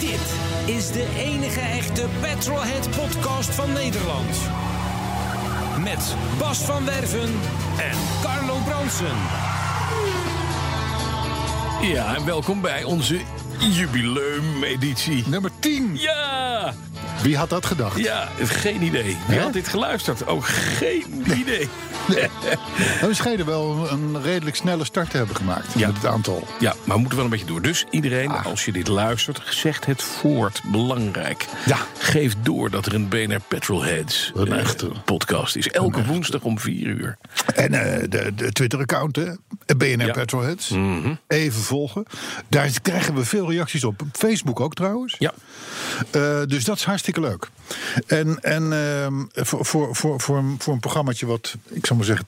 Dit is de enige echte Petrolhead podcast van Nederland. Met Bas van Werven en Carlo Bronsen. Ja, en welkom bij onze jubileumeditie. Nummer 10. Ja, Wie had dat gedacht? ja, geen idee. Wie Hè? had dit geluisterd? Ook geen idee. Nou, We schijnen wel een redelijk snelle start te hebben gemaakt Ja. met het aantal. Ja, maar we moeten wel een beetje door. Dus iedereen, als je dit luistert, zegt het voort. Belangrijk. Ja. Geef door dat er een BNR Petrolheads Een eh, echte. podcast is. Elke woensdag om vier uur. En eh, de, de Twitter-account, hè, Eh, BNR Ja. Mhm. Petrolheads. Even volgen. Daar krijgen we veel reacties op. Op Facebook ook trouwens. Ja, Eh, dus dat is hartstikke leuk. En, en ehm, voor, voor, voor, voor, een, voor een programmaatje wat, ik zou maar zeggen,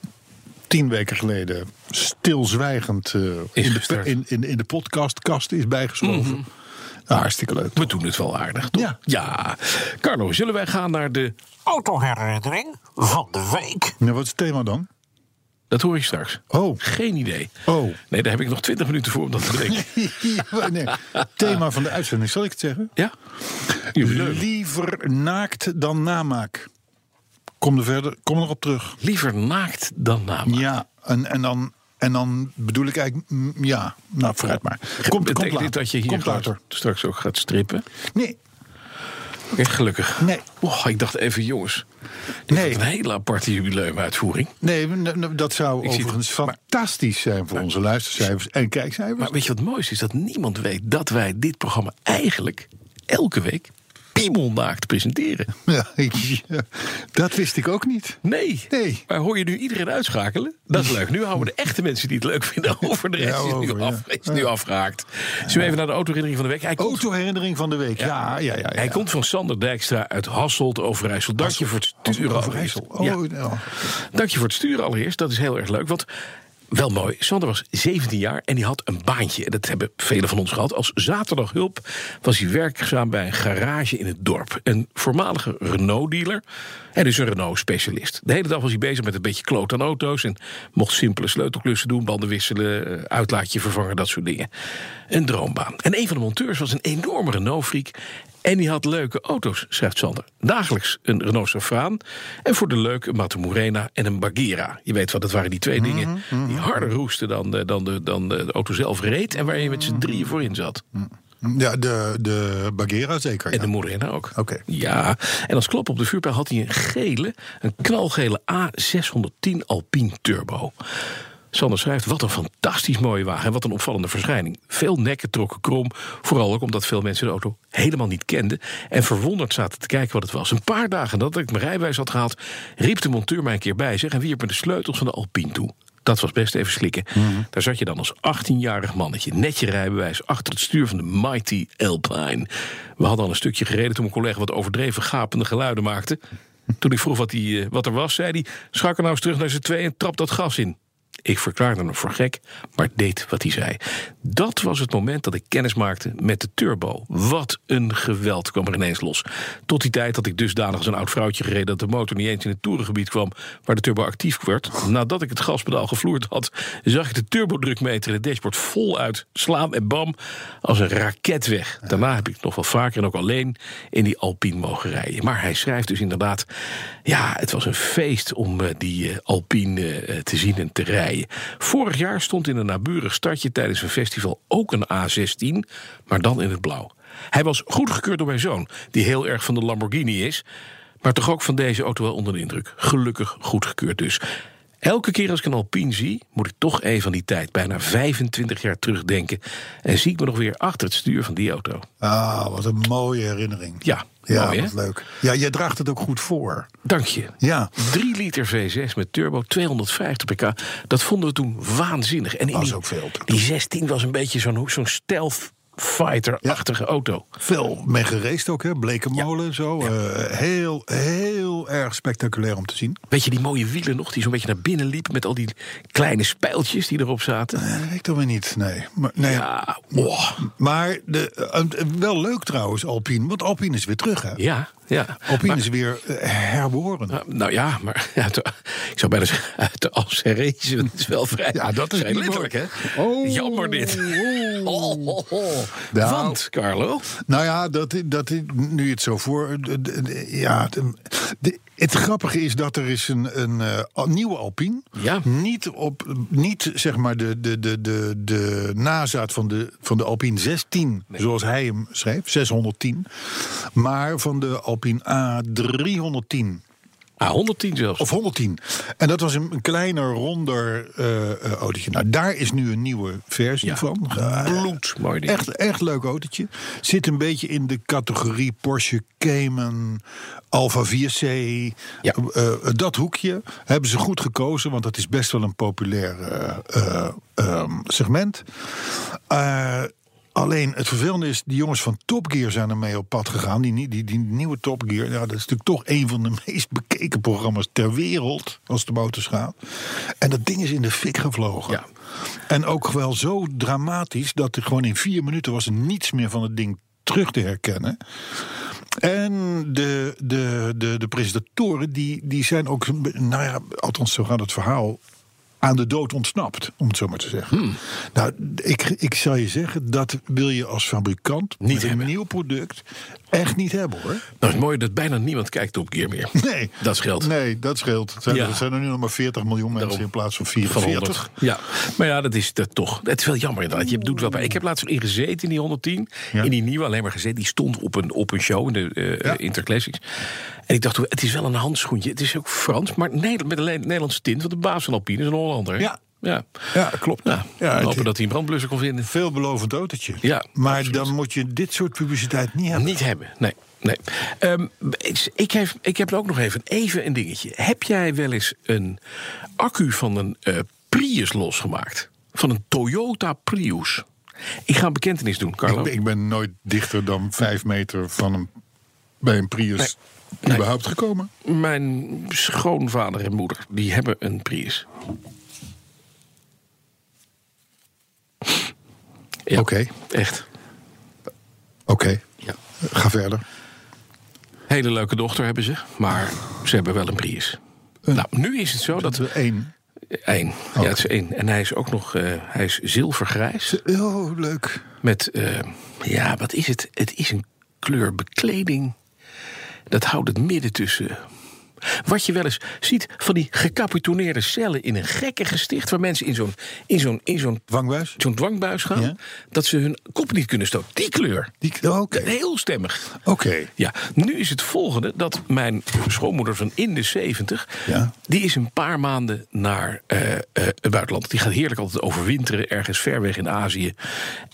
tien weken geleden stilzwijgend eh, Is in, de, gestart. Mhm. in, in, in de podcastkast is bijgeschoven. Nou, hartstikke leuk. we doen het wel aardig, toch? Ja. ja. Carlo, zullen wij gaan naar de... autoherinnering van de week. Nou, wat is het thema dan? Dat hoor je straks. Oh. Geen idee. Oh. Nee, daar heb ik nog twintig minuten voor om dat te bedenken. nee, thema van de uitzending, zal ik het zeggen? ja? Jubileum. Liever naakt dan namaak. Kom er verder, kom erop terug. Liever naakt dan naam. Ja, en, en, dan, en dan bedoel ik eigenlijk, mm, ja, nou vooruit maar. Komt, komt Betekent later. dit dat je hier komt gewoon later. straks ook gaat strippen? Nee, Oké, gelukkig. Nee. Oh, ik dacht even, jongens. Dit Nee. wordt een hele aparte jubileumuitvoering. nee, n- n- dat zou Ik zie het. overigens fantastisch zijn voor onze luistercijfers en kijkcijfers. Maar weet je wat mooi is? Is dat niemand weet dat wij dit programma eigenlijk elke week piemelnaakt presenteren. Ja, ja, dat wist ik ook niet. Nee. Nee. Maar hoor je nu iedereen uitschakelen? Dat is leuk. Nu houden we de echte mensen die het leuk vinden over. De rest Ja, is, nu over, ja. af, is nu afgehaakt. Zullen we even naar de autoherinnering van de week? Hij komt, Autoherinnering van de week, ja, ja, ja. ja, hij komt van Sander Dijkstra uit Hasselt, Overijssel. Dank je voor het sturen. Overijssel. Oh, Ja. nou. Dank je voor het sturen allereerst. Dat is heel erg leuk. Want wel mooi. Sander was 17 jaar en die had een baantje. En dat hebben velen van ons gehad. Als zaterdaghulp was hij werkzaam bij een garage in het dorp. Een voormalige Renault-dealer. En dus een Renault-specialist. De hele dag was hij bezig met een beetje kloot aan auto's. En mocht simpele sleutelklussen doen, banden wisselen, eh, uitlaatje vervangen, dat soort dingen. Een droombaan. En een van de monteurs was een enorme Renault-freak. En die had leuke auto's, schrijft Sander. Dagelijks een Renault Safraan en voor de leuke Mata Morena en een Bagheera. Je weet wat, dat waren die twee dingen Mhm, die harder roesten dan, de- dan, de, dan de auto zelf reed... en waar je met z'n drieën voor in zat. Mhm. Ja, de, de Bagheera zeker. En Ja. de Morena ook. Oké. Ja, en als klop op de vuurpijl had hij een gele, een knalgele A610 Alpine Turbo. Sander schrijft, wat een fantastisch mooie wagen en wat een opvallende verschijning. Veel nekken trokken krom, vooral ook omdat veel mensen de auto helemaal niet kenden... en verwonderd zaten te kijken wat het was. Een paar dagen nadat ik mijn rijbewijs had gehaald, riep de monteur mij een keer bij zich... en wierp me de sleutels van de Alpine toe. Dat was best even slikken. Daar zat je dan als 18-jarig mannetje, net je rijbewijs, achter het stuur van de Mighty Alpine. We hadden al een stukje gereden toen mijn collega wat overdreven gapende geluiden maakte. Toen ik vroeg wat, die, eh, wat er was, zei hij: Schak er nou eens terug naar z'n twee en trap dat gas in. Ik verklaarde hem voor gek, maar deed wat hij zei. Dat was het moment dat ik kennis maakte met de turbo. Wat een geweld kwam er ineens los. Tot die tijd had ik dusdanig als een oud vrouwtje gereden... dat de motor niet eens in het toerengebied kwam waar de turbo actief werd. Nadat ik het gaspedaal gevloerd had... zag ik de turbodrukmeter in het dashboard voluit slaan en bam... als een raket weg. Daarna heb ik nog wel vaker en ook alleen in die Alpine mogen rijden. Maar hij schrijft dus inderdaad... ja, het was een feest om eh, die eh, Alpine eh, te zien en te rijden. Vorig jaar stond in een naburig stadje tijdens een festival ook een A16... maar dan in het blauw. Hij was goedgekeurd door mijn zoon, die heel erg van de Lamborghini is... maar toch ook van deze auto wel onder de indruk. Gelukkig goedgekeurd dus. Elke keer als ik een Alpine zie, moet ik toch even aan die tijd, bijna 25 jaar terugdenken. En zie ik me nog weer achter het stuur van die auto. Ah, wat een mooie herinnering. Ja, ja mooi, hè? wat leuk. Ja, jij draagt het ook goed voor. Dank je. Ja. 3 liter V6 met turbo, 250 pk. Dat vonden we toen waanzinnig. En in Was die, ook veel toen. Die 16 was een beetje zo'n zo'n stealth fighter-achtige auto. Veel mee gereest ook, hè? Blekenmolen, zo. eh, heel, heel erg spectaculair om te zien. Weet je die mooie wielen nog, die zo'n beetje naar binnen liepen... met al die kleine spijltjes die erop zaten? Eh, Dat weet ik dan weer niet, nee. Maar, nee. Ja, oh. maar de, eh, eh, wel leuk trouwens, Alpine. Want Alpine is weer terug, hè? ja, ja. Alpine Maar- is weer eh, herboren. Nou, nou ja, maar uit de- ik zou bijna zeggen, uit de as herrezen. want Het is wel vrij, Ja, dat is vrij niet letterlijk, hè? mooi. Oh. Jammer dit. Oh, oh, oh. Nou. Want, Carlo, Nou ja, dat, dat, nu je het zo voor. d- d- d- Ja, de- de- het grappige is dat er is een, een eh, al- nieuwe Alpine. Ja. Niet, op, niet zeg maar de, de, de, de, de nazaat van de, van de Alpine 16, zoals hij hem schreef, 610. Maar van de Alpine A310. A110 zelfs. Of 110. En dat was een, een kleiner, ronder eh eh, autootje. Nou, daar is nu een nieuwe versie Ja. van. Eh, Bloedmooi ding. Echt, echt leuk autootje. Zit een beetje in de categorie Porsche Cayman, Alfa 4C. Ja. Eh, eh, dat hoekje hebben ze goed gekozen, want dat is best wel een populair eh, eh, ehm, segment. Eh, alleen het vervelende is, die jongens van Top Gear zijn ermee op pad gegaan. Die, nie- die, die nieuwe Top Gear, ja, dat is natuurlijk toch een van de meest bekeken programma's ter wereld. Als de motors gaat. En dat ding is in de fik gevlogen. Ja. En ook wel zo dramatisch dat er gewoon in vier minuten was er niets meer van het ding terug te herkennen. En de, de, de, de presentatoren die, die zijn ook, nou ja, althans zo gaat het verhaal, aan de dood ontsnapt, om het zo maar te zeggen. Hmm. Nou, ik, ik zal je zeggen, dat wil je als fabrikant Niet met hebben. een nieuw product echt niet hebben hoor. Nou, het mooie dat bijna niemand kijkt op Gear meer. Nee. Dat scheelt. Nee, dat scheelt. Het zijn, Ja. er zijn er nu nog maar 40 miljoen mensen Daarom. in plaats van Van 44. 100. Ja, maar ja, dat is dat toch. Het is wel jammer inderdaad. Je doet wel bij. Ik heb laatst in gezeten in die 110. Ja. In die nieuwe alleen maar gezeten. Die stond op een, op een show in de eh Ja. Interclassics. En ik dacht, het is wel een handschoentje. Het is ook Frans, maar Nederland, met een le- Nederlandse tint. Want de baas van Alpine is een Hollander. hè? Ja. Ja, Ja, klopt. ja, Ja, het- hopen dat hij een brandblusser kon vinden. Veelbelovend autootje. Ja, maar absoluut. dan moet je dit soort publiciteit niet hebben. Niet hebben, nee. nee. Ehm, ik- ik, heb, ik heb ook nog even, even een dingetje. Heb jij wel eens een accu van een eh, Prius losgemaakt? Van een Toyota Prius? Ik ga een bekentenis doen, Carlo. Ik ben, ik ben nooit dichter dan vijf meter van een, bij een Prius Nee. überhaupt gekomen. Mijn schoonvader en moeder, die hebben een Prius. Ja, Oké. Echt. Oké, Ja. ga verder. Hele leuke dochter hebben ze, maar ze hebben wel een Prius. nou, nu is het zo dat... Dat één. Eén. Ja, het is één. En hij is ook nog eh, hij is zilvergrijs. Oh, leuk. Met, eh, ja, wat is het? Het is een kleur bekleding. Dat houdt het midden tussen. Wat je wel eens ziet van die gecapitoneerde cellen in een gekke gesticht... waar mensen in zo'n in zo'n in zo'n Dwangbuis? zo'n dwangbuis gaan... Ja. dat ze hun kop niet kunnen stoten. Die kleur. Die- oh, Oké. Heel stemmig. Oké. Ja, nu is het volgende dat mijn schoonmoeder van in de 70, Ja. die is een paar maanden naar eh, eh, het buitenland. Die gaat heerlijk altijd overwinteren, ergens ver weg in Azië.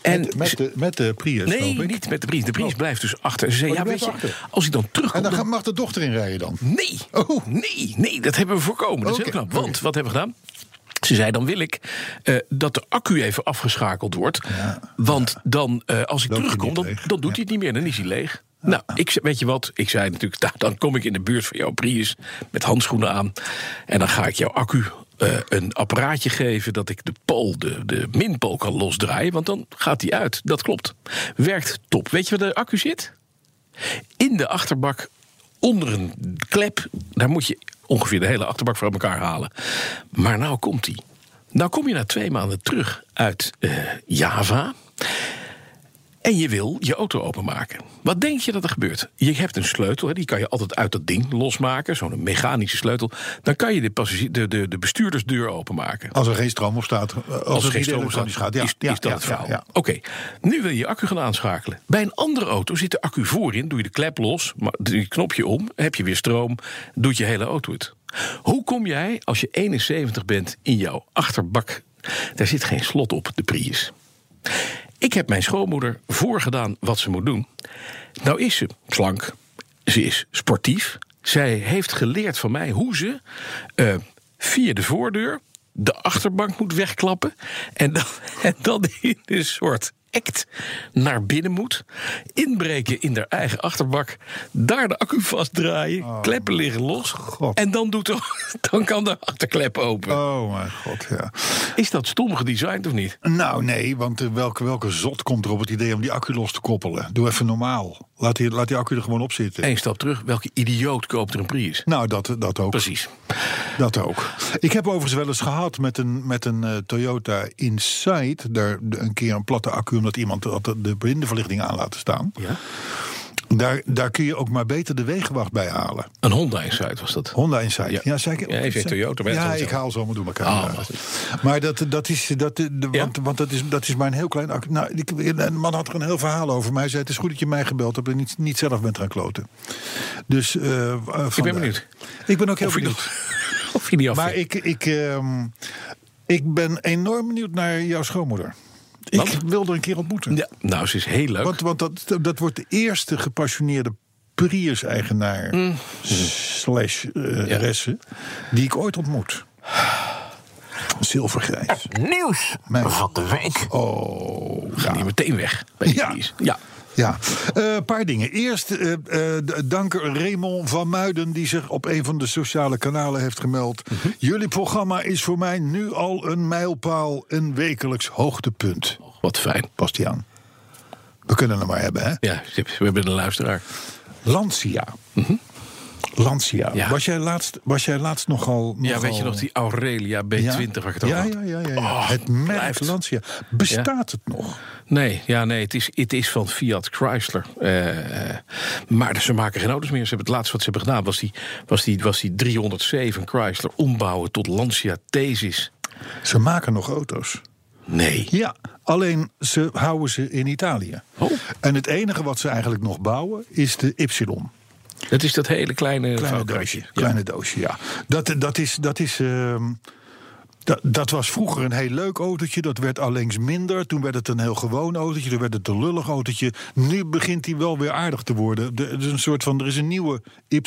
En Met, de, met de Prius, nee, hoop ik. niet met de Prius. De Prius blijft dus achter. En ze zei, Oh, ja, die weet je, blijft achter. als hij dan terugkomt. En dan dan- gaat- mag de dochter inrijden dan? Nee, Oh. nee, nee, dat hebben we voorkomen. Dat is Oké, heel knap. oké. Want wat hebben we gedaan? Ze zei, dan wil ik eh, dat de accu even afgeschakeld wordt. want dan, eh, als ik Loopt hij terugkom, dan, niet leeg. dan doet hij het niet meer. Dan is hij leeg. Nou, ik, zei, weet je wat? Ik zei natuurlijk, nou, dan kom ik in de buurt van jouw Prius met handschoenen aan. En dan ga ik jouw accu eh, een apparaatje geven dat ik de pool, de, de minpool kan losdraaien. Want dan gaat hij uit. Dat klopt. Werkt top. Weet je waar de accu zit? in de achterbak onder een klep. Daar moet je ongeveer de hele achterbak voor uit elkaar halen. Maar nou komt hij. Nou kom je na twee maanden terug uit eh, Java. En je wil je auto openmaken. Wat denk je dat er gebeurt? Je hebt een sleutel, hè, die kan je altijd uit dat ding losmaken. Zo'n mechanische sleutel. Dan kan je de, passagier- de, de, de bestuurdersdeur openmaken. Als er geen stroom op staat. eh, Als, Als er er geen niet stroom op staat, elektronisch gaat. Ja, is, ja, is dat ja, het verhaal. ja, ja. Oké, nu wil je je accu gaan aanschakelen. Bij een andere auto zit de accu voorin, doe je de klep los, maar doe je knopje om, heb je weer stroom, doet je hele auto het. Hoe kom jij, als je 71 bent, in jouw achterbak? Daar zit geen slot op, de Prius. Ik heb mijn schoonmoeder voorgedaan wat ze moet doen. Nou is ze slank, ze is sportief. Zij heeft geleerd van mij hoe ze eh, via de voordeur de achterbank moet wegklappen. En dan, en dan in een soort act naar binnen moet. Inbreken in haar eigen achterbak. Daar de accu vastdraaien. Oh, kleppen liggen los. En dan, doet de, dan kan de achterklep open. Oh mijn god, ja. Is dat stom gedesigned of niet? Nou nee, want eh, welke, welke zot komt er op het idee om die accu los te koppelen? Doe even normaal. Laat die, laat die accu er gewoon op zitten. Eén stap terug. Welke idioot koopt er een Prius? Nou, dat, dat ook. Precies. Dat ook. Ik heb overigens wel eens gehad met een, met een eh, Toyota Insight. Daar de- een keer een platte accu, omdat iemand had de- de blindenverlichting aan laten staan. Ja. Daar, daar kun je ook maar beter de wegenwacht bij halen. Een Honda Insight was dat. Honda Insight. Ja. Ja, zei ik. Ja, je zegt Toyota, maar dat is Ja, hetzelfde. ik haal ze allemaal door elkaar. Ah, Ja. maar maar dat, dat is, dat, eh, de, de- Ja? want, want dat, is, dat is maar een heel klein. accu- Nou, ik, een man had er een heel verhaal over. Maar hij zei: Het is goed dat je mij gebeld hebt en niet, niet zelf bent gaan kloten. Dus. eh, eh, vandaar. benieuwd. Ik ben ook heel Of je benieuwd. dat- Of je die af. Maar ik, ik, ehm, ik ben enorm benieuwd naar jouw schoonmoeder. Want? Ik wil er een keer ontmoeten. Ja, nou, ze is heel leuk. Want, want dat, dat wordt de eerste gepassioneerde Prius-eigenaar slash eh, Mm. Ja. resse die ik ooit ontmoet. Zilvergrijs. Nieuws Nee. van de week. Oh, Ga ja. die meteen weg. Bij die Ja. Prius. ja. Ja, Eh, een paar dingen. Eerst eh eh, d- dank Raymond van Muiden, die zich op een van de sociale kanalen heeft gemeld. Mhm. Jullie programma is voor mij nu al een mijlpaal, een wekelijks hoogtepunt. Wat fijn. Past die aan? We kunnen hem maar hebben, hè? Ja, we hebben een luisteraar. Lancia. Lancia. Mhm. Ja. Was, jij laatst, was jij laatst nogal. Ja, nogal- weet je nog die Aurelia B20 Ja? waar ik het over ja, had? ja, ja, ja, ja. Oh, het merk blijft. Lancia. Bestaat het nog? Nee, ja, nee het, is, het is van Fiat Chrysler. Eh, maar ze maken geen auto's meer. Ze hebben het laatste wat ze hebben gedaan was die, was die, was die 307 Chrysler ombouwen tot Lancia Thesis. Ze maken nog auto's. Nee. Ja, alleen ze houden ze in Italië. Oh. En het enige wat ze eigenlijk nog bouwen is de Y. Dat is dat hele kleine, Kleine vouwkruisje. doosje. Kleine doosje, ja. Dat, dat is. Dat is ehm, dat, dat was vroeger een heel leuk autootje. Dat werd allengs minder. Toen werd het een heel gewoon autootje. Toen werd het een lullig autootje. Nu begint hij wel weer aardig te worden. De- Er is een soort van. Er is een nieuwe Y.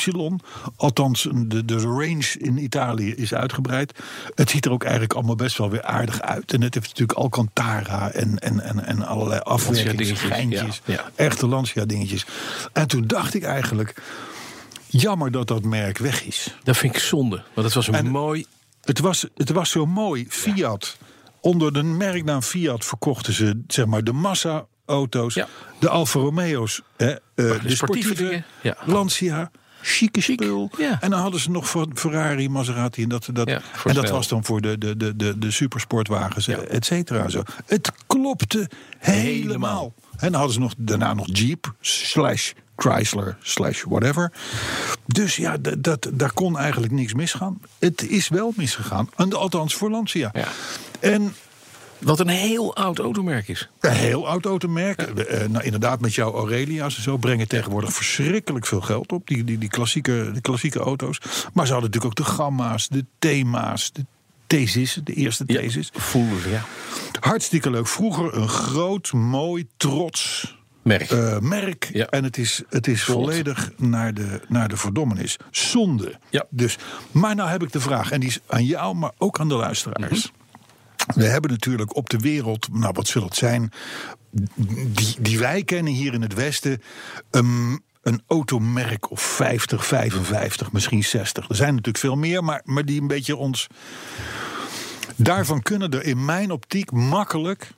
Althans, de, de range in Italië is uitgebreid. Het ziet er ook eigenlijk allemaal best wel weer aardig uit. En het heeft natuurlijk Alcantara en, en, en, en allerlei afwerkingen. Lancia-dingetjes, ja, Geintjes. ja. Echte Lancia-dingetjes. En toen dacht ik eigenlijk. Jammer dat dat merk weg is. Dat vind ik zonde, want het was een En- mooi... Het was, het was zo mooi. Fiat. Onder de merknaam Fiat verkochten ze zeg maar, de massa-auto's. Ja. De Alfa Romeo's. Hè, eh, de, sportieve sportieve, dingen, ja. Lancia. Chique Chic, spul. ja. En dan hadden ze nog Fer- Ferrari, Maserati. En dat, dat, Ja, voor en dat snel. was dan voor de, de, de, de, de supersportwagens, Ja. et cetera. en Zo. Het klopte helemaal. Helemaal. En dan hadden ze nog, daarna nog Jeep, slash Chrysler, slash whatever. Dus ja, dat, dat, daar kon eigenlijk niks misgaan. Het is wel misgegaan. En, althans voor Lancia. Ja. En Wat een heel oud automerk is. een heel oud automerk. Eh, eh, nou, inderdaad, met jouw Aurelia's en zo brengen tegenwoordig verschrikkelijk veel geld op. Die, die, die, klassieke, die klassieke auto's. Maar ze hadden natuurlijk ook de gamma's, de thema's, de thesis, de eerste thesis. Voelen, ja. Hartstikke leuk. Vroeger een groot, mooi, trots Merk. eh, merk. Ja. En het is, het is Klopt. volledig naar de, naar de verdommenis. Zonde. Ja. Dus, maar nou heb ik de vraag, en die is aan jou, maar ook aan de Mhm. luisteraars. We hebben natuurlijk op de wereld, nou wat zal het zijn, die, die wij kennen hier in het Westen, een, een automerk of 50, 55, misschien 60. Er zijn natuurlijk veel meer, maar, maar die een beetje ons. Daarvan kunnen er in mijn optiek makkelijk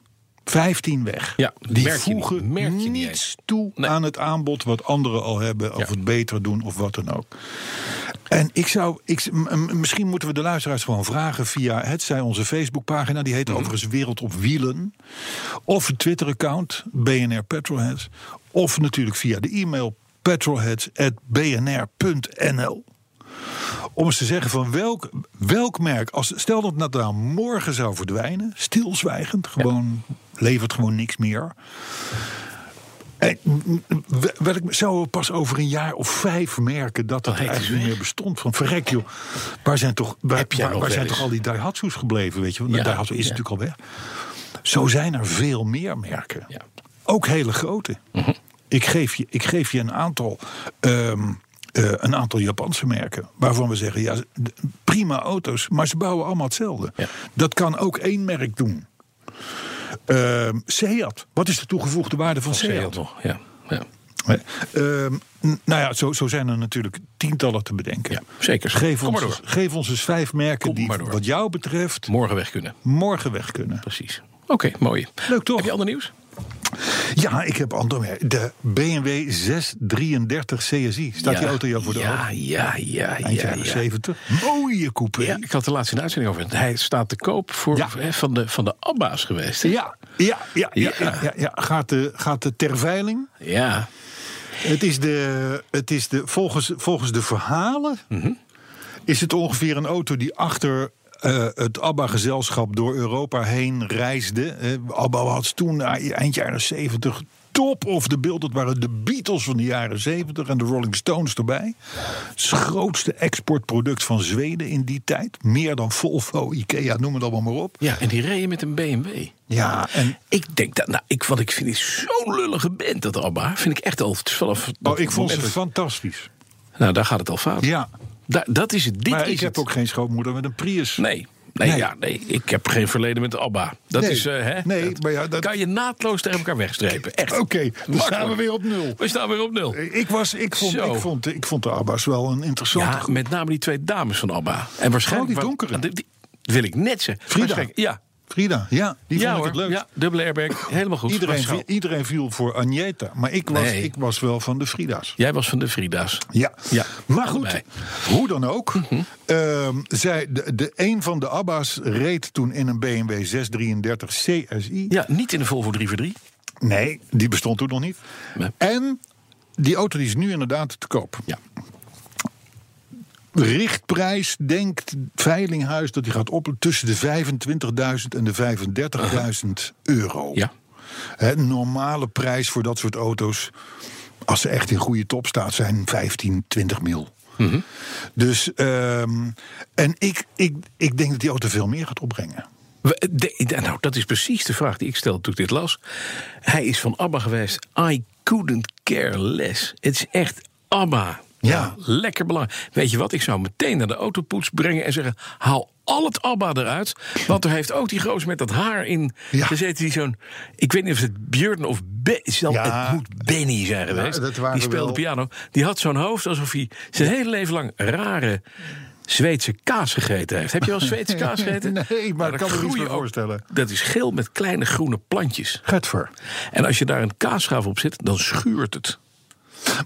15 weg. Ja, die merk je niet, voegen merk je niet niets eens. toe Nee. aan het aanbod wat anderen al hebben, of Ja. het beter doen of wat dan ook. En ik zou, ik, m- m- misschien moeten we de luisteraars gewoon vragen via het zij onze Facebookpagina, die heet Mhm. overigens Wereld op Wielen, of een Twitter-account, BNR Petrolheads, of natuurlijk via de e-mail petrolheads.bnr.nl. Om eens te zeggen van welk, welk merk, als, stel dat het nou morgen zou verdwijnen, stilzwijgend, gewoon levert gewoon niks meer. En, mm, we- wel, ik zou pas over een jaar of vijf merken dat dat heet het eigenlijk niet meer bestond. Van verrek joh, waar zijn toch, waar, Heb jij waar- nog waar wel zijn eens? toch al die Daihatsu's gebleven? Weet je? Want Ja, de Daihatsu is ja. natuurlijk al weg. Zo zijn er veel meer merken. Ja. Ook hele grote. Mhm. ik, geef je, ik geef je een aantal, ehm, eh, een aantal Japanse merken. Waarvan we zeggen, ja, d- prima auto's, maar ze bouwen allemaal hetzelfde. Ja. Dat kan ook één merk doen. Ehm, Seat. Wat is de toegevoegde waarde van, Zei je Seat? dat nog? Ja. Oh, ja. Hè? Ehm, n- nou ja, zo, zo zijn er natuurlijk tientallen te bedenken. Ja, zeker. Geef Kom ons, maar door. geef ons eens vijf merken Kom die, maar door. wat jou betreft, Morgen weg kunnen. morgen weg kunnen. Precies. Oké, mooi. Leuk toch? Heb je ander nieuws? Ja, ik heb ander merk. De BMW 633 CSI. Staat die auto jou voor de ja, ogen? ja, ja, ja. Eind jaren ja. 70. Mooie coupé. Ja, ik had de laatste uitzending over. Hij staat te koop voor, Ja. hè, van, de, van de Abba's geweest. hè? Ja, ja, ja, ja, Ja. ja, ja, ja. Gaat, de, gaat de ter veiling. ja. Het is de, het is de, volgens, volgens de verhalen Mhm. is het ongeveer een auto die achter eh, het ABBA-gezelschap door Europa heen reisde. Eh, ABBA was toen eh, eind jaren 70 top of de beeld. Dat waren de Beatles van de jaren 70 en de Rolling Stones erbij. Het is het grootste exportproduct van Zweden in die tijd. Meer dan Volvo, Ikea, noem het allemaal maar op. Ja, en die reden met een BMW. Ja, en Ik denk dat, nou, ik, wat ik vind is zo'n lullige band, dat Abba. Vind ik echt al vanaf. dat oh, ik vond ze moment dat- fantastisch. Nou, daar gaat het al fout. Ja, Da- dat is het. Dit maar is ik heb het. ook geen schoonmoeder met een Prius. Nee. Nee, Nee. Ja, nee, ik heb geen verleden met de ABBA. Dat Nee. is, eh, hè, Nee, dat maar ja, dat- kan je naadloos tegen elkaar wegstrepen. Echt. Oké, dan Makkelijk. staan we weer op nul. We staan weer op nul. Ik, was, ik, vond, Zo. ik, vond, ik vond de Abbas wel een interessante Ja, groep. met name die twee dames van ABBA. En waarschijnlijk... Oh, die donkere. wa- die- die- dat wil ik net zeggen. Frida. Waarschijnlijk- Ja, Frida, ja, die ja vond ik hoor. het leuk. Ja, dubbele airbag. Helemaal goed. Iedereen, Was zo. viel, iedereen viel voor Agneta, maar ik was, Nee. ik was wel van de Frida's. Jij was van de Frida's. Ja. Ja, Mhm. maar goed, allebei. hoe dan ook. ehm, zij, de, de, een van de Abba's reed toen in een BMW 633 CSI. Ja, niet in de Volvo 343. Nee, die bestond toen nog niet. Nee. En die auto die is nu inderdaad te koop. Ja. Richtprijs denkt Veilinghuis dat die gaat op tussen de 25.000 en de 35.000 euro. Ja. Hè, normale prijs voor dat soort auto's, als ze echt in goede top staat, zijn 15, 20 mil. Mhm. Dus, ehm, en ik, ik, ik denk dat die auto veel meer gaat opbrengen. We- de- de- nou, dat is precies de vraag die ik stelde toen ik dit las. Hij is van ABBA geweest. I couldn't care less. Het is echt ABBA. Ja. Lekker belangrijk. Weet je wat? Ik zou meteen naar de autopoets brengen en zeggen... haal al het ABBA eruit. Want er heeft ook die gozer met dat haar in Ja. gezeten... die zo'n... Ik weet niet of het Björn of... Be, zal- Ja. Het moet Benny zijn geweest. dat waren die speelde wel- piano. Die had zo'n hoofd alsof hij zijn hele leven lang rare... Zweedse kaas gegeten heeft. Heb je wel Zweedse kaas gegeten? Nee, maar Nou, daar ik kan me niets groeien bij ook- voorstellen. dat is geel met kleine groene plantjes. Getver. En als je daar een kaasschaaf op zit, dan schuurt het.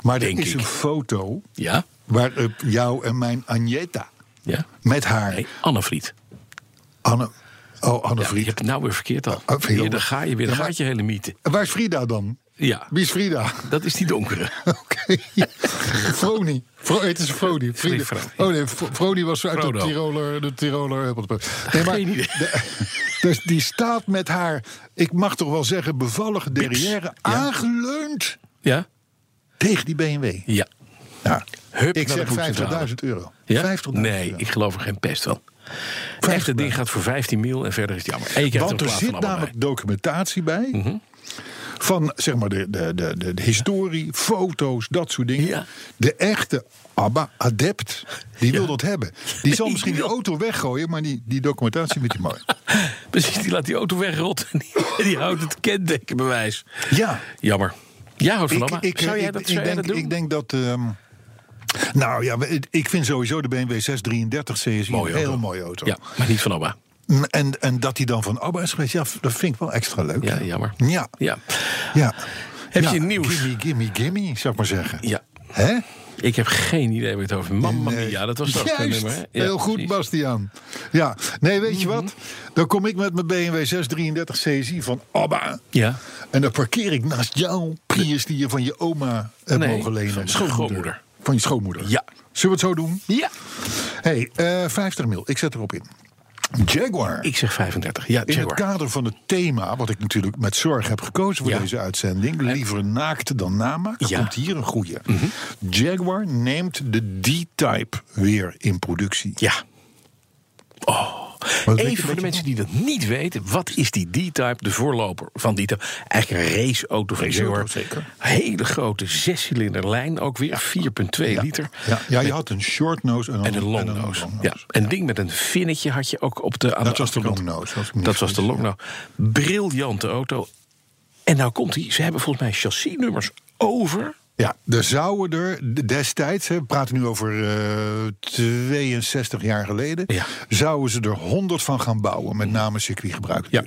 Maar er Denk is ik. een foto Ja? waarop jou en mijn Agneta Ja? met haar Nee, Annevriet. Anne. Oh, Anne Ja, je Vriend. hebt het nou weer verkeerd al. Oh, vind je Hier, dat- daar ga je weer, daar Ja, maar- gaat je hele mythe. Waar is Frida dan? Ja, Wie is Frida? dat is die donkere. Oké. Froni. Fro, het is Froni. Frida. Froni. Oh nee, Fro- Froni was uit Frodo. de Tiroler... De Tiroler nee, Geen idee. de- dus die staat met haar, ik mag toch wel zeggen, bevallige derrière... aangeleund Ja? tegen die BMW. Ja. nou, Ja. Hup, Ik naar de zeg boetcentrale. 50.000 euro. Ja? 50.000 Nee, euro. ik geloof er geen pest van. Echt, het ding gaat voor 15 mil en verder is het jammer. En je krijgt Want er er een plaat zit van allemaal bij. Mhm. namelijk documentatie bij. Van zeg maar de, de, de, de, de historie, foto's, dat soort dingen. Ja. De echte ABBA-adept, die wil Ja. dat hebben. Die zal Nee, misschien die die wil- auto weggooien, maar die, die documentatie vindt hij mooi. Precies, die laat die auto wegrotten. en Die, die houdt het kentekenbewijs. Ja. Jammer. Jij houdt van Ik, ABBA. ik, zou jij ik- dat, ik zou jij denk, dat doen? ik denk dat... ehm, nou ja, we- ik vind sowieso de BMW 633 CSI Mooie een heel auto. mooie auto. Ja, maar niet van ABBA. En, en dat hij dan van ABBA is geweest, ja, dat vind ik wel extra leuk. Ja, jammer. Ja. Ja. ja. Heb Ja, je nieuws? Gimme, gimme, gimme, zou ik maar zeggen. Ja. Hè? Ik heb geen idee waar je het over Mamma Nee. mia, dat was toch een Juist. nummer, hè? Ja, Heel goed, precies. Mhm. Bastiaan. Ja, nee, weet je wat? Dan kom ik met mijn BMW 633 CSI van ABBA. Ja. En dan parkeer ik naast jouw Prius die je van je oma hebt Nee, mogen lenen. van mijn schoonmoeder. Van je schoonmoeder. Ja. Zullen we het zo doen? Ja. hey, eh, 50 mil. Ik zet erop in. Jaguar. Ik zeg 35. Ja, In het Jaguar. kader van het thema, wat ik natuurlijk met zorg heb gekozen voor Ja. deze uitzending, liever naakt dan namaak, Ja. Mhm. komt hier een goede. Jaguar neemt de D-Type weer in productie. Ja. Maar dat weet je- Even voor weet de je mensen die dat niet weten, wat is die D-Type, de voorloper van die type Eigenlijk een raceauto van Raceauto, Jaguar. zeker. Hele grote zescilinder lijn ook weer, 4,2 liter. Ja, ja, je had een short nose en een, En een long nose. Ja, een ding met een finnetje had je ook op de. Aan Dat was de achterkant. long nose, als ik me niet Dat was de vergis, long nose. Briljante auto. En nou komt hij. Ze hebben volgens mij chassisnummers over. Ja, er zouden er d- destijds, hè, we praten nu over eh, 62 jaar geleden, Ja. zouden ze er 100 van gaan bouwen, met name circuitgebruik. Ja.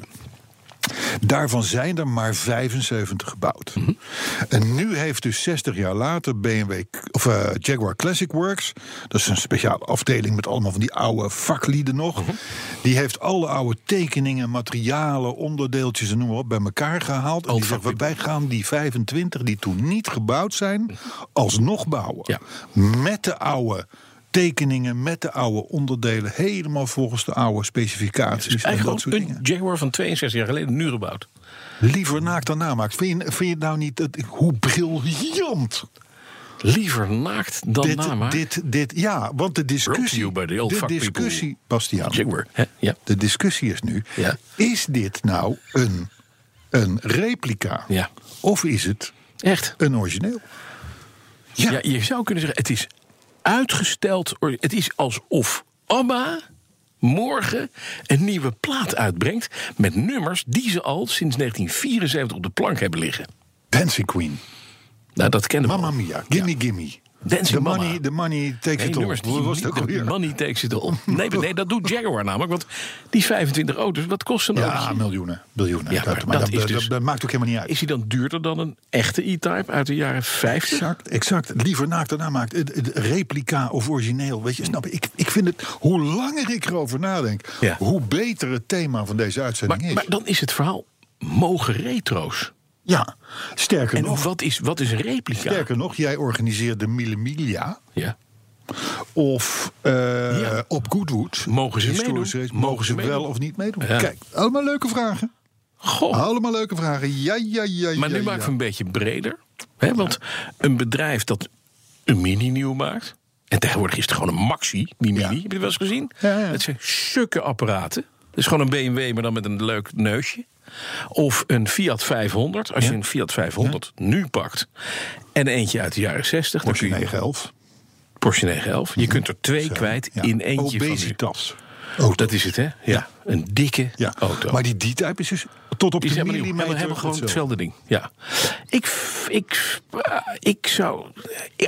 Daarvan zijn er maar 75 gebouwd. Mhm. En nu heeft dus 60 jaar later BMW k- of eh, Jaguar Classic Works, dat is een speciale afdeling met allemaal van die oude vaklieden nog, Mhm. die heeft alle oude tekeningen, materialen, onderdeeltjes en noem maar op bij elkaar gehaald. En Al die die zegt, we- wij gaan die 25 die toen niet gebouwd zijn, alsnog bouwen. Ja. Met de oude tekeningen, met de oude onderdelen, helemaal volgens de oude specificaties en dat Eigenlijk soort gewoon een dingen. Jaguar van 62 jaar geleden, nu gebouwd. Liever naakt dan namaakt. Vind je, vind je het nou niet dat, hoe briljant Liever naakt dan dit, namaak. dit, dit, ja, want de discussie, you by the old de fuck people. discussie, Bastiaan, Jaguar. Hè? Ja. de discussie is nu, Ja. is dit nou een, een replica Ja. of is het Echt. een origineel? Ja. je zou kunnen zeggen, het is uitgesteld. or- Het is alsof ABBA morgen een nieuwe plaat uitbrengt... met nummers die ze al sinds 1974 op de plank hebben liggen. Dancing Queen. Nou, dat kennen we Mamma al. mia, gimme gimme. Dancing the Mama. money, the money takes Nee, it all. nummers die Wat was dat niet- alweer? Money takes it all. Nee, maar nee, dat doet Jaguar namelijk. Want die 25 auto's, wat kost een Ja, autootje? miljoenen, biljoenen. Ja, dat, maar maar dat dat, is dat- dus- dat maakt ook helemaal niet uit. Is die dan duurder dan een echte E-Type uit de jaren 50? Exact, exact. Liever naakt dan namaakt. Het- het Replica of origineel, weet je, snap je? Ik, ik vind het, hoe langer ik erover nadenk, Ja. hoe beter het thema van deze uitzending Maar, is. maar dan is het verhaal, mogen retro's? ja, sterker En nog, wat is, wat is een replica? sterker nog, jij organiseert de Mille Miglia Ja. of eh, Ja. op Goodwood. Mogen ze Historisch meedoen? race, Mogen, Mogen ze ze wel meedoen? of niet meedoen? Ja. Kijk, allemaal leuke vragen. Goh. Allemaal leuke vragen. Ja, ja, ja, ja. Maar nu ja. maken we een beetje breder. Hè? Want een bedrijf dat een mini nieuw maakt. En tegenwoordig is het gewoon een maxi, die mini. Ja. Heb je dat wel eens gezien? Ja, ja. Dat zijn sukke apparaten. Dat is gewoon een BMW, maar dan met een leuk neusje. Of een Fiat 500. Als je een Fiat 500 nu pakt. En eentje uit de jaren 60. Dan Porsche kun je 911. Porsche 911. Je kunt er twee kwijt Ja. in eentje van nu. Obesitas. Dat is het, hè? Ja. Een dikke Ja. auto. Maar die D-type is dus tot op Oh, Die de zijn helemaal nieuw. millimeter En we hebben gewoon hetzelfde. hetzelfde ding. Ja. Ik, f- ik, f- ah, ik zou.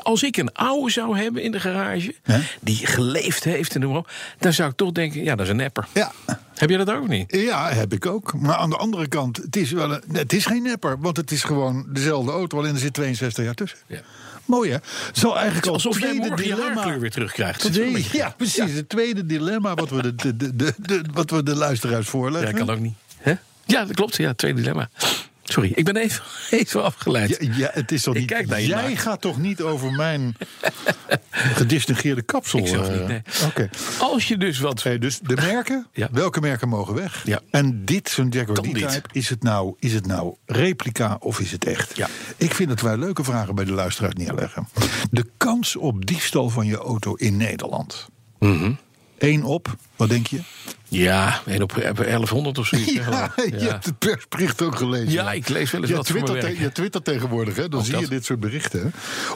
Als ik een oude zou hebben in de garage. Hè? die geleefd heeft en noem maar op. dan zou ik toch denken: ja, dat is een nepper. Ja, Heb jij dat ook niet? Ja, heb ik ook. Maar aan de andere kant, het is, wel een, het is geen nepper. Want het is gewoon dezelfde auto, alleen er zit 62 jaar tussen. Ja. Mooi hè? Zal eigenlijk al Alsof het jij tweede morgen je dilemma... haarkleur weer terugkrijgt. Dat is wel een Twee, beetje- ja, precies. Het tweede dilemma wat we de, de, de, de, de- wat we de luisteraars Ja, voorleggen. dat kan ook niet. Hè? Ja, dat klopt. Ja, twee dilemma. Sorry, ik ben even, even afgeleid. Ja, ja, het is toch Ik niet... kijk naar je jij naakt. gaat toch niet over mijn gedistingeerde kapsel? Ik zelf eh, niet, nee. Oké. Als je dus wat. Hey, dus de merken, Ja. welke merken mogen weg? Ja. En dit, zo'n Jaguar Dan dit. D-Type, is, het nou, is het nou replica of is het echt? Ja. Ik vind dat wij leuke vragen bij de luisteraars neerleggen. De kans op diefstal van je auto in Nederland. Mhm. Eén op, wat denk je? Ja, één op 1100 of zoiets. hè, geloof ik. je hebt het persbericht ook gelezen. Ja, ik lees wel eens je wat voor twittert mijn te- werk. Je twittert tegenwoordig, hè? dan Ook zie dat. je dit soort berichten. hè.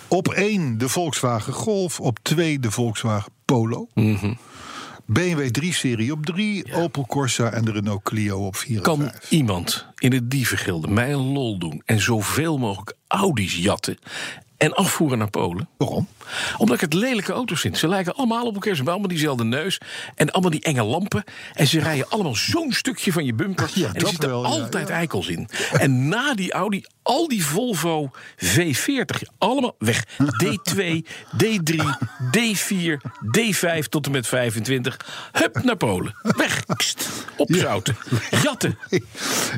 Op één de Volkswagen Golf, op twee de Volkswagen Polo. Mhm. BMW 3-serie op 3, Opel Corsa en de Renault Clio op 4 en Kan 5. iemand in het dievengilde mij een lol doen en zoveel mogelijk Audi's jatten en afvoeren naar Polen? Waarom? Omdat ik het lelijke auto's vind. Ze lijken allemaal op elkaar, ze hebben allemaal diezelfde neus en allemaal die enge lampen. En ze rijden allemaal zo'n stukje van je bumper. Ja, en er dat zitten wel, ja, altijd ja. eikels in. En na die Audi, al die Volvo V40, allemaal weg. D2, D3, D4, D5 tot en met 25. Hup, naar Polen. Weg. Kst, opzouten. Jatten.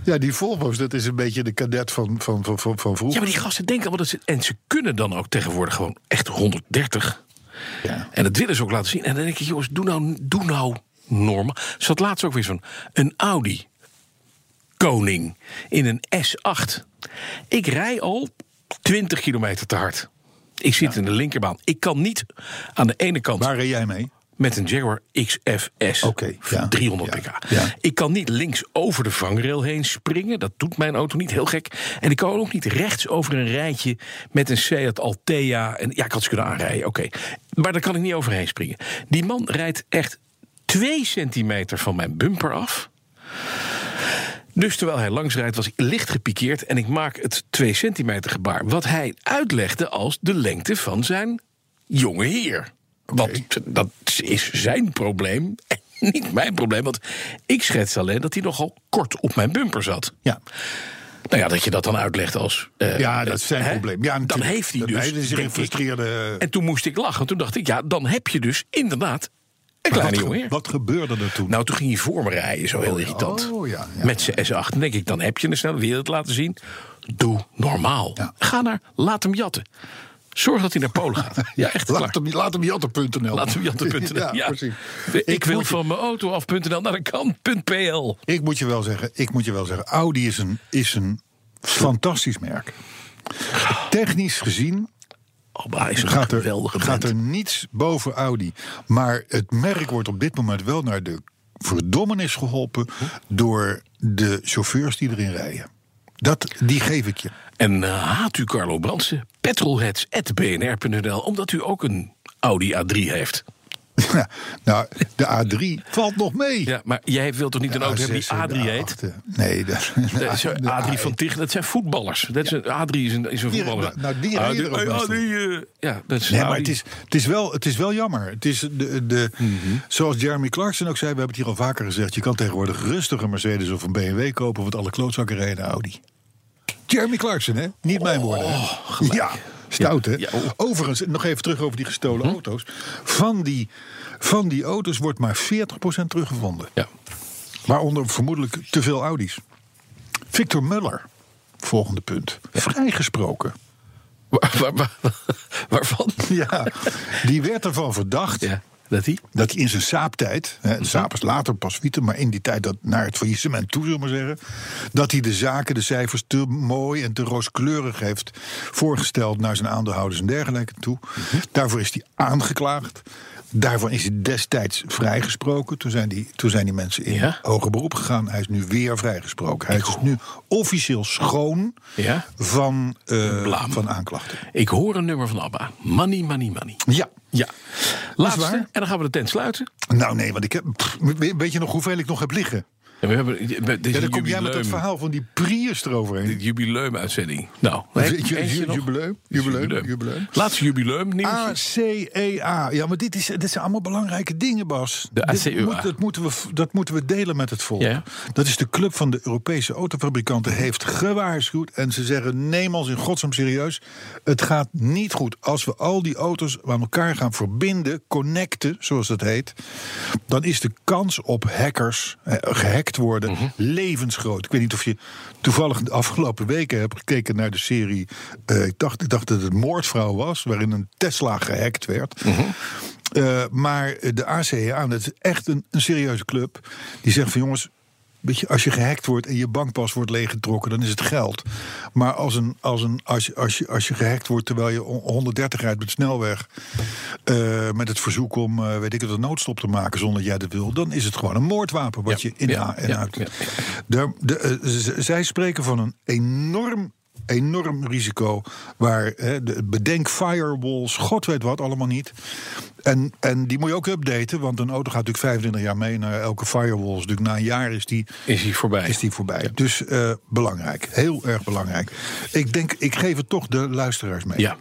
Ja, die Volvo's, dat is een beetje de kadet van, van, van, van, van Ja, vroeger. maar die gasten denken wel dat ze. En ze kunnen dan ook tegenwoordig gewoon echt 130. Ja. En dat willen ze ook laten zien. En dan denk ik, jongens, doe nou, doe nou normaal. Er zat laatst ook weer zo'n een Audi koning in een S8. Ik rij al 20 kilometer te hard. Ik zit in de linkerbaan. Ik kan niet aan de ene kant Waar reed jij mee? met een Jaguar XFS. Oké, ja. 300 Ja, pk. ja. Ik kan niet links over de vangrail heen springen. Dat doet mijn auto niet, heel gek. En ik kan ook niet rechts over een rijtje met een Seat Altea. En, ja, ik had ze kunnen aanrijden, oké. Maar daar kan ik niet overheen springen. Die man rijdt echt twee centimeter van mijn bumper af. Dus terwijl hij langs rijdt, was ik licht gepikeerd en ik maak het 2 centimeter gebaar. Wat hij uitlegde als de lengte van zijn jonge heer. Want dat is zijn probleem en niet mijn probleem. Want ik schets alleen dat hij nogal kort op mijn bumper zat. Ja. Nou ja, dat je dat dan uitlegt als. eh, Ja, dat is zijn hè? probleem. Ja, dan natuurlijk. heeft hij Dat dus. hij is een denk ik- gefrustreerde- En toen moest ik lachen. want Toen dacht ik, ja, dan heb je dus inderdaad een Maar kleine wat, jongen. ge- wat gebeurde er toen? Nou, toen ging hij voor me rijden, zo heel irritant. Oh, ja, ja. Met zijn S8. Dan denk ik, dan heb je een snelle wereld laten zien. Doe normaal. Ja. Ga naar, laat hem jatten. Zorg dat hij naar Polen gaat. Ja, echt klaar. laat, hem, laat hem jatten.nl. Laat hem jatten.nl. ja, Ja, precies. Ik, Ik wil moet je- van mijn auto af.nl naar de kant.pl. Ik moet je wel zeggen, ik moet je wel zeggen Audi is een, is een fantastisch merk. Technisch gezien Alba Oh, is een gaat er, geweldige gaat band. er niets boven Audi. Maar het merk wordt op dit moment wel naar de verdommenis geholpen... door de chauffeurs die erin rijden. Dat, die geef ik je. En eh, haat u Carlo Brandsen? Petrolheads.bnr.nl Omdat u ook een Audi A3 heeft. nou, de A3 valt nog mee. Ja, maar jij wilt toch niet een auto hebben die A6 en A3 de heet? A8, eh, Nee, dat, Dat is de Adrie A8. van Tichelen, dat zijn voetballers. Dat is een, Adrie is een, is een Ah, Die- voetballer. nou, die reden Adrie- er ook hey, best om. Adrie, eh, ja, dat is Nee, Adrie. maar het is, het, is wel, het is wel jammer. Het is de, de, Mhm. Zoals Jeremy Clarkson ook zei, we hebben het hier al vaker gezegd... je kan tegenwoordig rustig een Mercedes of een BMW kopen... want alle klootzakken rijden Audi. Jeremy Clarkson, hè? Niet mijn woorden. hè? ja, stout, hè? Oh, Ja, ja, oh. Mhm. Overigens, nog even terug over die gestolen auto's. Van die, van die auto's wordt maar 40% teruggevonden. Ja. Waaronder vermoedelijk te veel Audi's. Victor Muller, volgende punt. Vrijgesproken. Waar, waar- waar- waarvan? Ja, die werd ervan verdacht... Ja, dat die? dat hij in zijn saaptijd, hè, Mhm. de saap is later pas wieten, maar in die tijd dat naar het faillissement toe, zullen we maar zeggen, dat hij de zaken, de cijfers te mooi en te rooskleurig heeft voorgesteld naar zijn aandeelhouders en dergelijke toe. Mhm. Daarvoor is hij aangeklaagd. Daarvan is hij destijds vrijgesproken. Toen zijn die, toen zijn die mensen in Ja. hoger beroep gegaan. Hij is nu weer vrijgesproken. Hij is nu officieel schoon Ja. van, eh, Blaam. van aanklachten. Ik hoor een nummer van ABBA. Money, money, money. Ja. Ja. Laatste, waar. en dan gaan we de tent sluiten. Nou nee, want ik heb, pff, weet je nog hoeveel ik nog heb liggen? En we hebben deze Ja, dan kom jij met dat jubileum, verhaal van die Prius eroverheen. dit jubileum-uitzending. Nou, heb je Ju- eentje ju- nog? jubileum, jubileum, Jubileum. jubileum. Laatste jubileum, nieuwtje. ACEA. E Ja, maar dit, is, dit zijn allemaal belangrijke dingen, Bas. De E Dit ACEA. moet- dat, moeten we, dat moeten we delen met het volk. Ja. Dat is de club van de Europese autofabrikanten. Heeft gewaarschuwd. En ze zeggen: neem ons in godsnaam serieus. Het gaat niet goed. Als we al die auto's aan elkaar gaan verbinden, connecten, zoals dat heet. dan is de kans op hackers, eh, gehackt worden, levensgroot. Ik weet niet of je toevallig de afgelopen weken hebt gekeken naar de serie. eh, ik, dacht, ik dacht dat het Moordvrouw was, waarin een Tesla gehackt werd. Eh, maar de ACEA, dat is echt een, een serieuze club, die zegt van jongens. Weet je, als je gehackt wordt en je bankpas wordt leeggetrokken, dan is het geld. Maar als, een, als, een, als, je, als, je, als je gehackt wordt terwijl je on- 130 rijdt met de snelweg. eh, met het verzoek om, eh, weet ik het, een noodstop te maken zonder dat jij dat wil. dan is het gewoon een moordwapen wat Ja, je in ja, en ja, uit. ja, Daar- de, eh, z- zij spreken van een enorm, enorm risico. Waar hè, de, bedenk firewalls, god weet wat, allemaal niet. En, en die moet je ook updaten, want een auto gaat natuurlijk 25 jaar mee naar elke firewall. Dus natuurlijk na een jaar is die, Is hij voorbij. Ah, is die voorbij. Dus eh, belangrijk, heel erg belangrijk. Ik denk, ik geef het toch de luisteraars mee. Ja.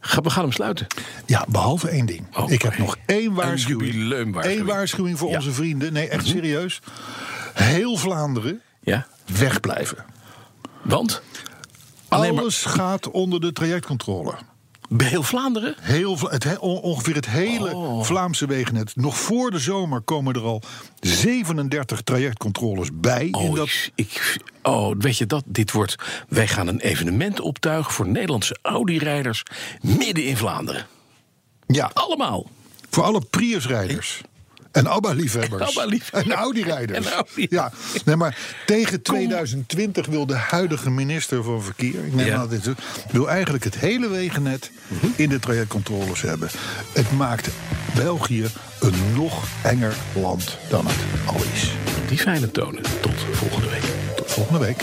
Ga- We gaan hem sluiten. Ja, behalve één ding. Oh, Oké. Ik heb nog één waarschuwing. jubileumwaarschuwing. Eén waarschuwing voor Ja. Mhm. onze vrienden. Nee, echt serieus. Heel Vlaanderen Ja. wegblijven. Want? Alleen Ah, maar- Alles gaat onder de trajectcontrole. Bij heel Vlaanderen? Heel, Vla- het, he- on- ongeveer het hele Oh. Vlaamse wegennet. Nog voor de zomer komen er al 37 trajectcontroles bij. Oh, in dat, ik, ik- oh, weet je dat? Dit wordt. Wij gaan een evenement optuigen voor Nederlandse Audi-rijders midden in Vlaanderen. ja, Allemaal. voor alle Priusrijders. En ABBA-liefhebbers. En ABBA-liefhebbers. En Audi-rijders. En Audi. Ja, nee, maar tegen 2020 wil de huidige minister van Verkeer... ik neem Ja. Mhm. aan dat dit wil eigenlijk het hele wegennet in de trajectcontroles hebben. Het maakt België een nog enger land dan het al is. Die fijne tonen. Tot volgende week. Tot volgende week.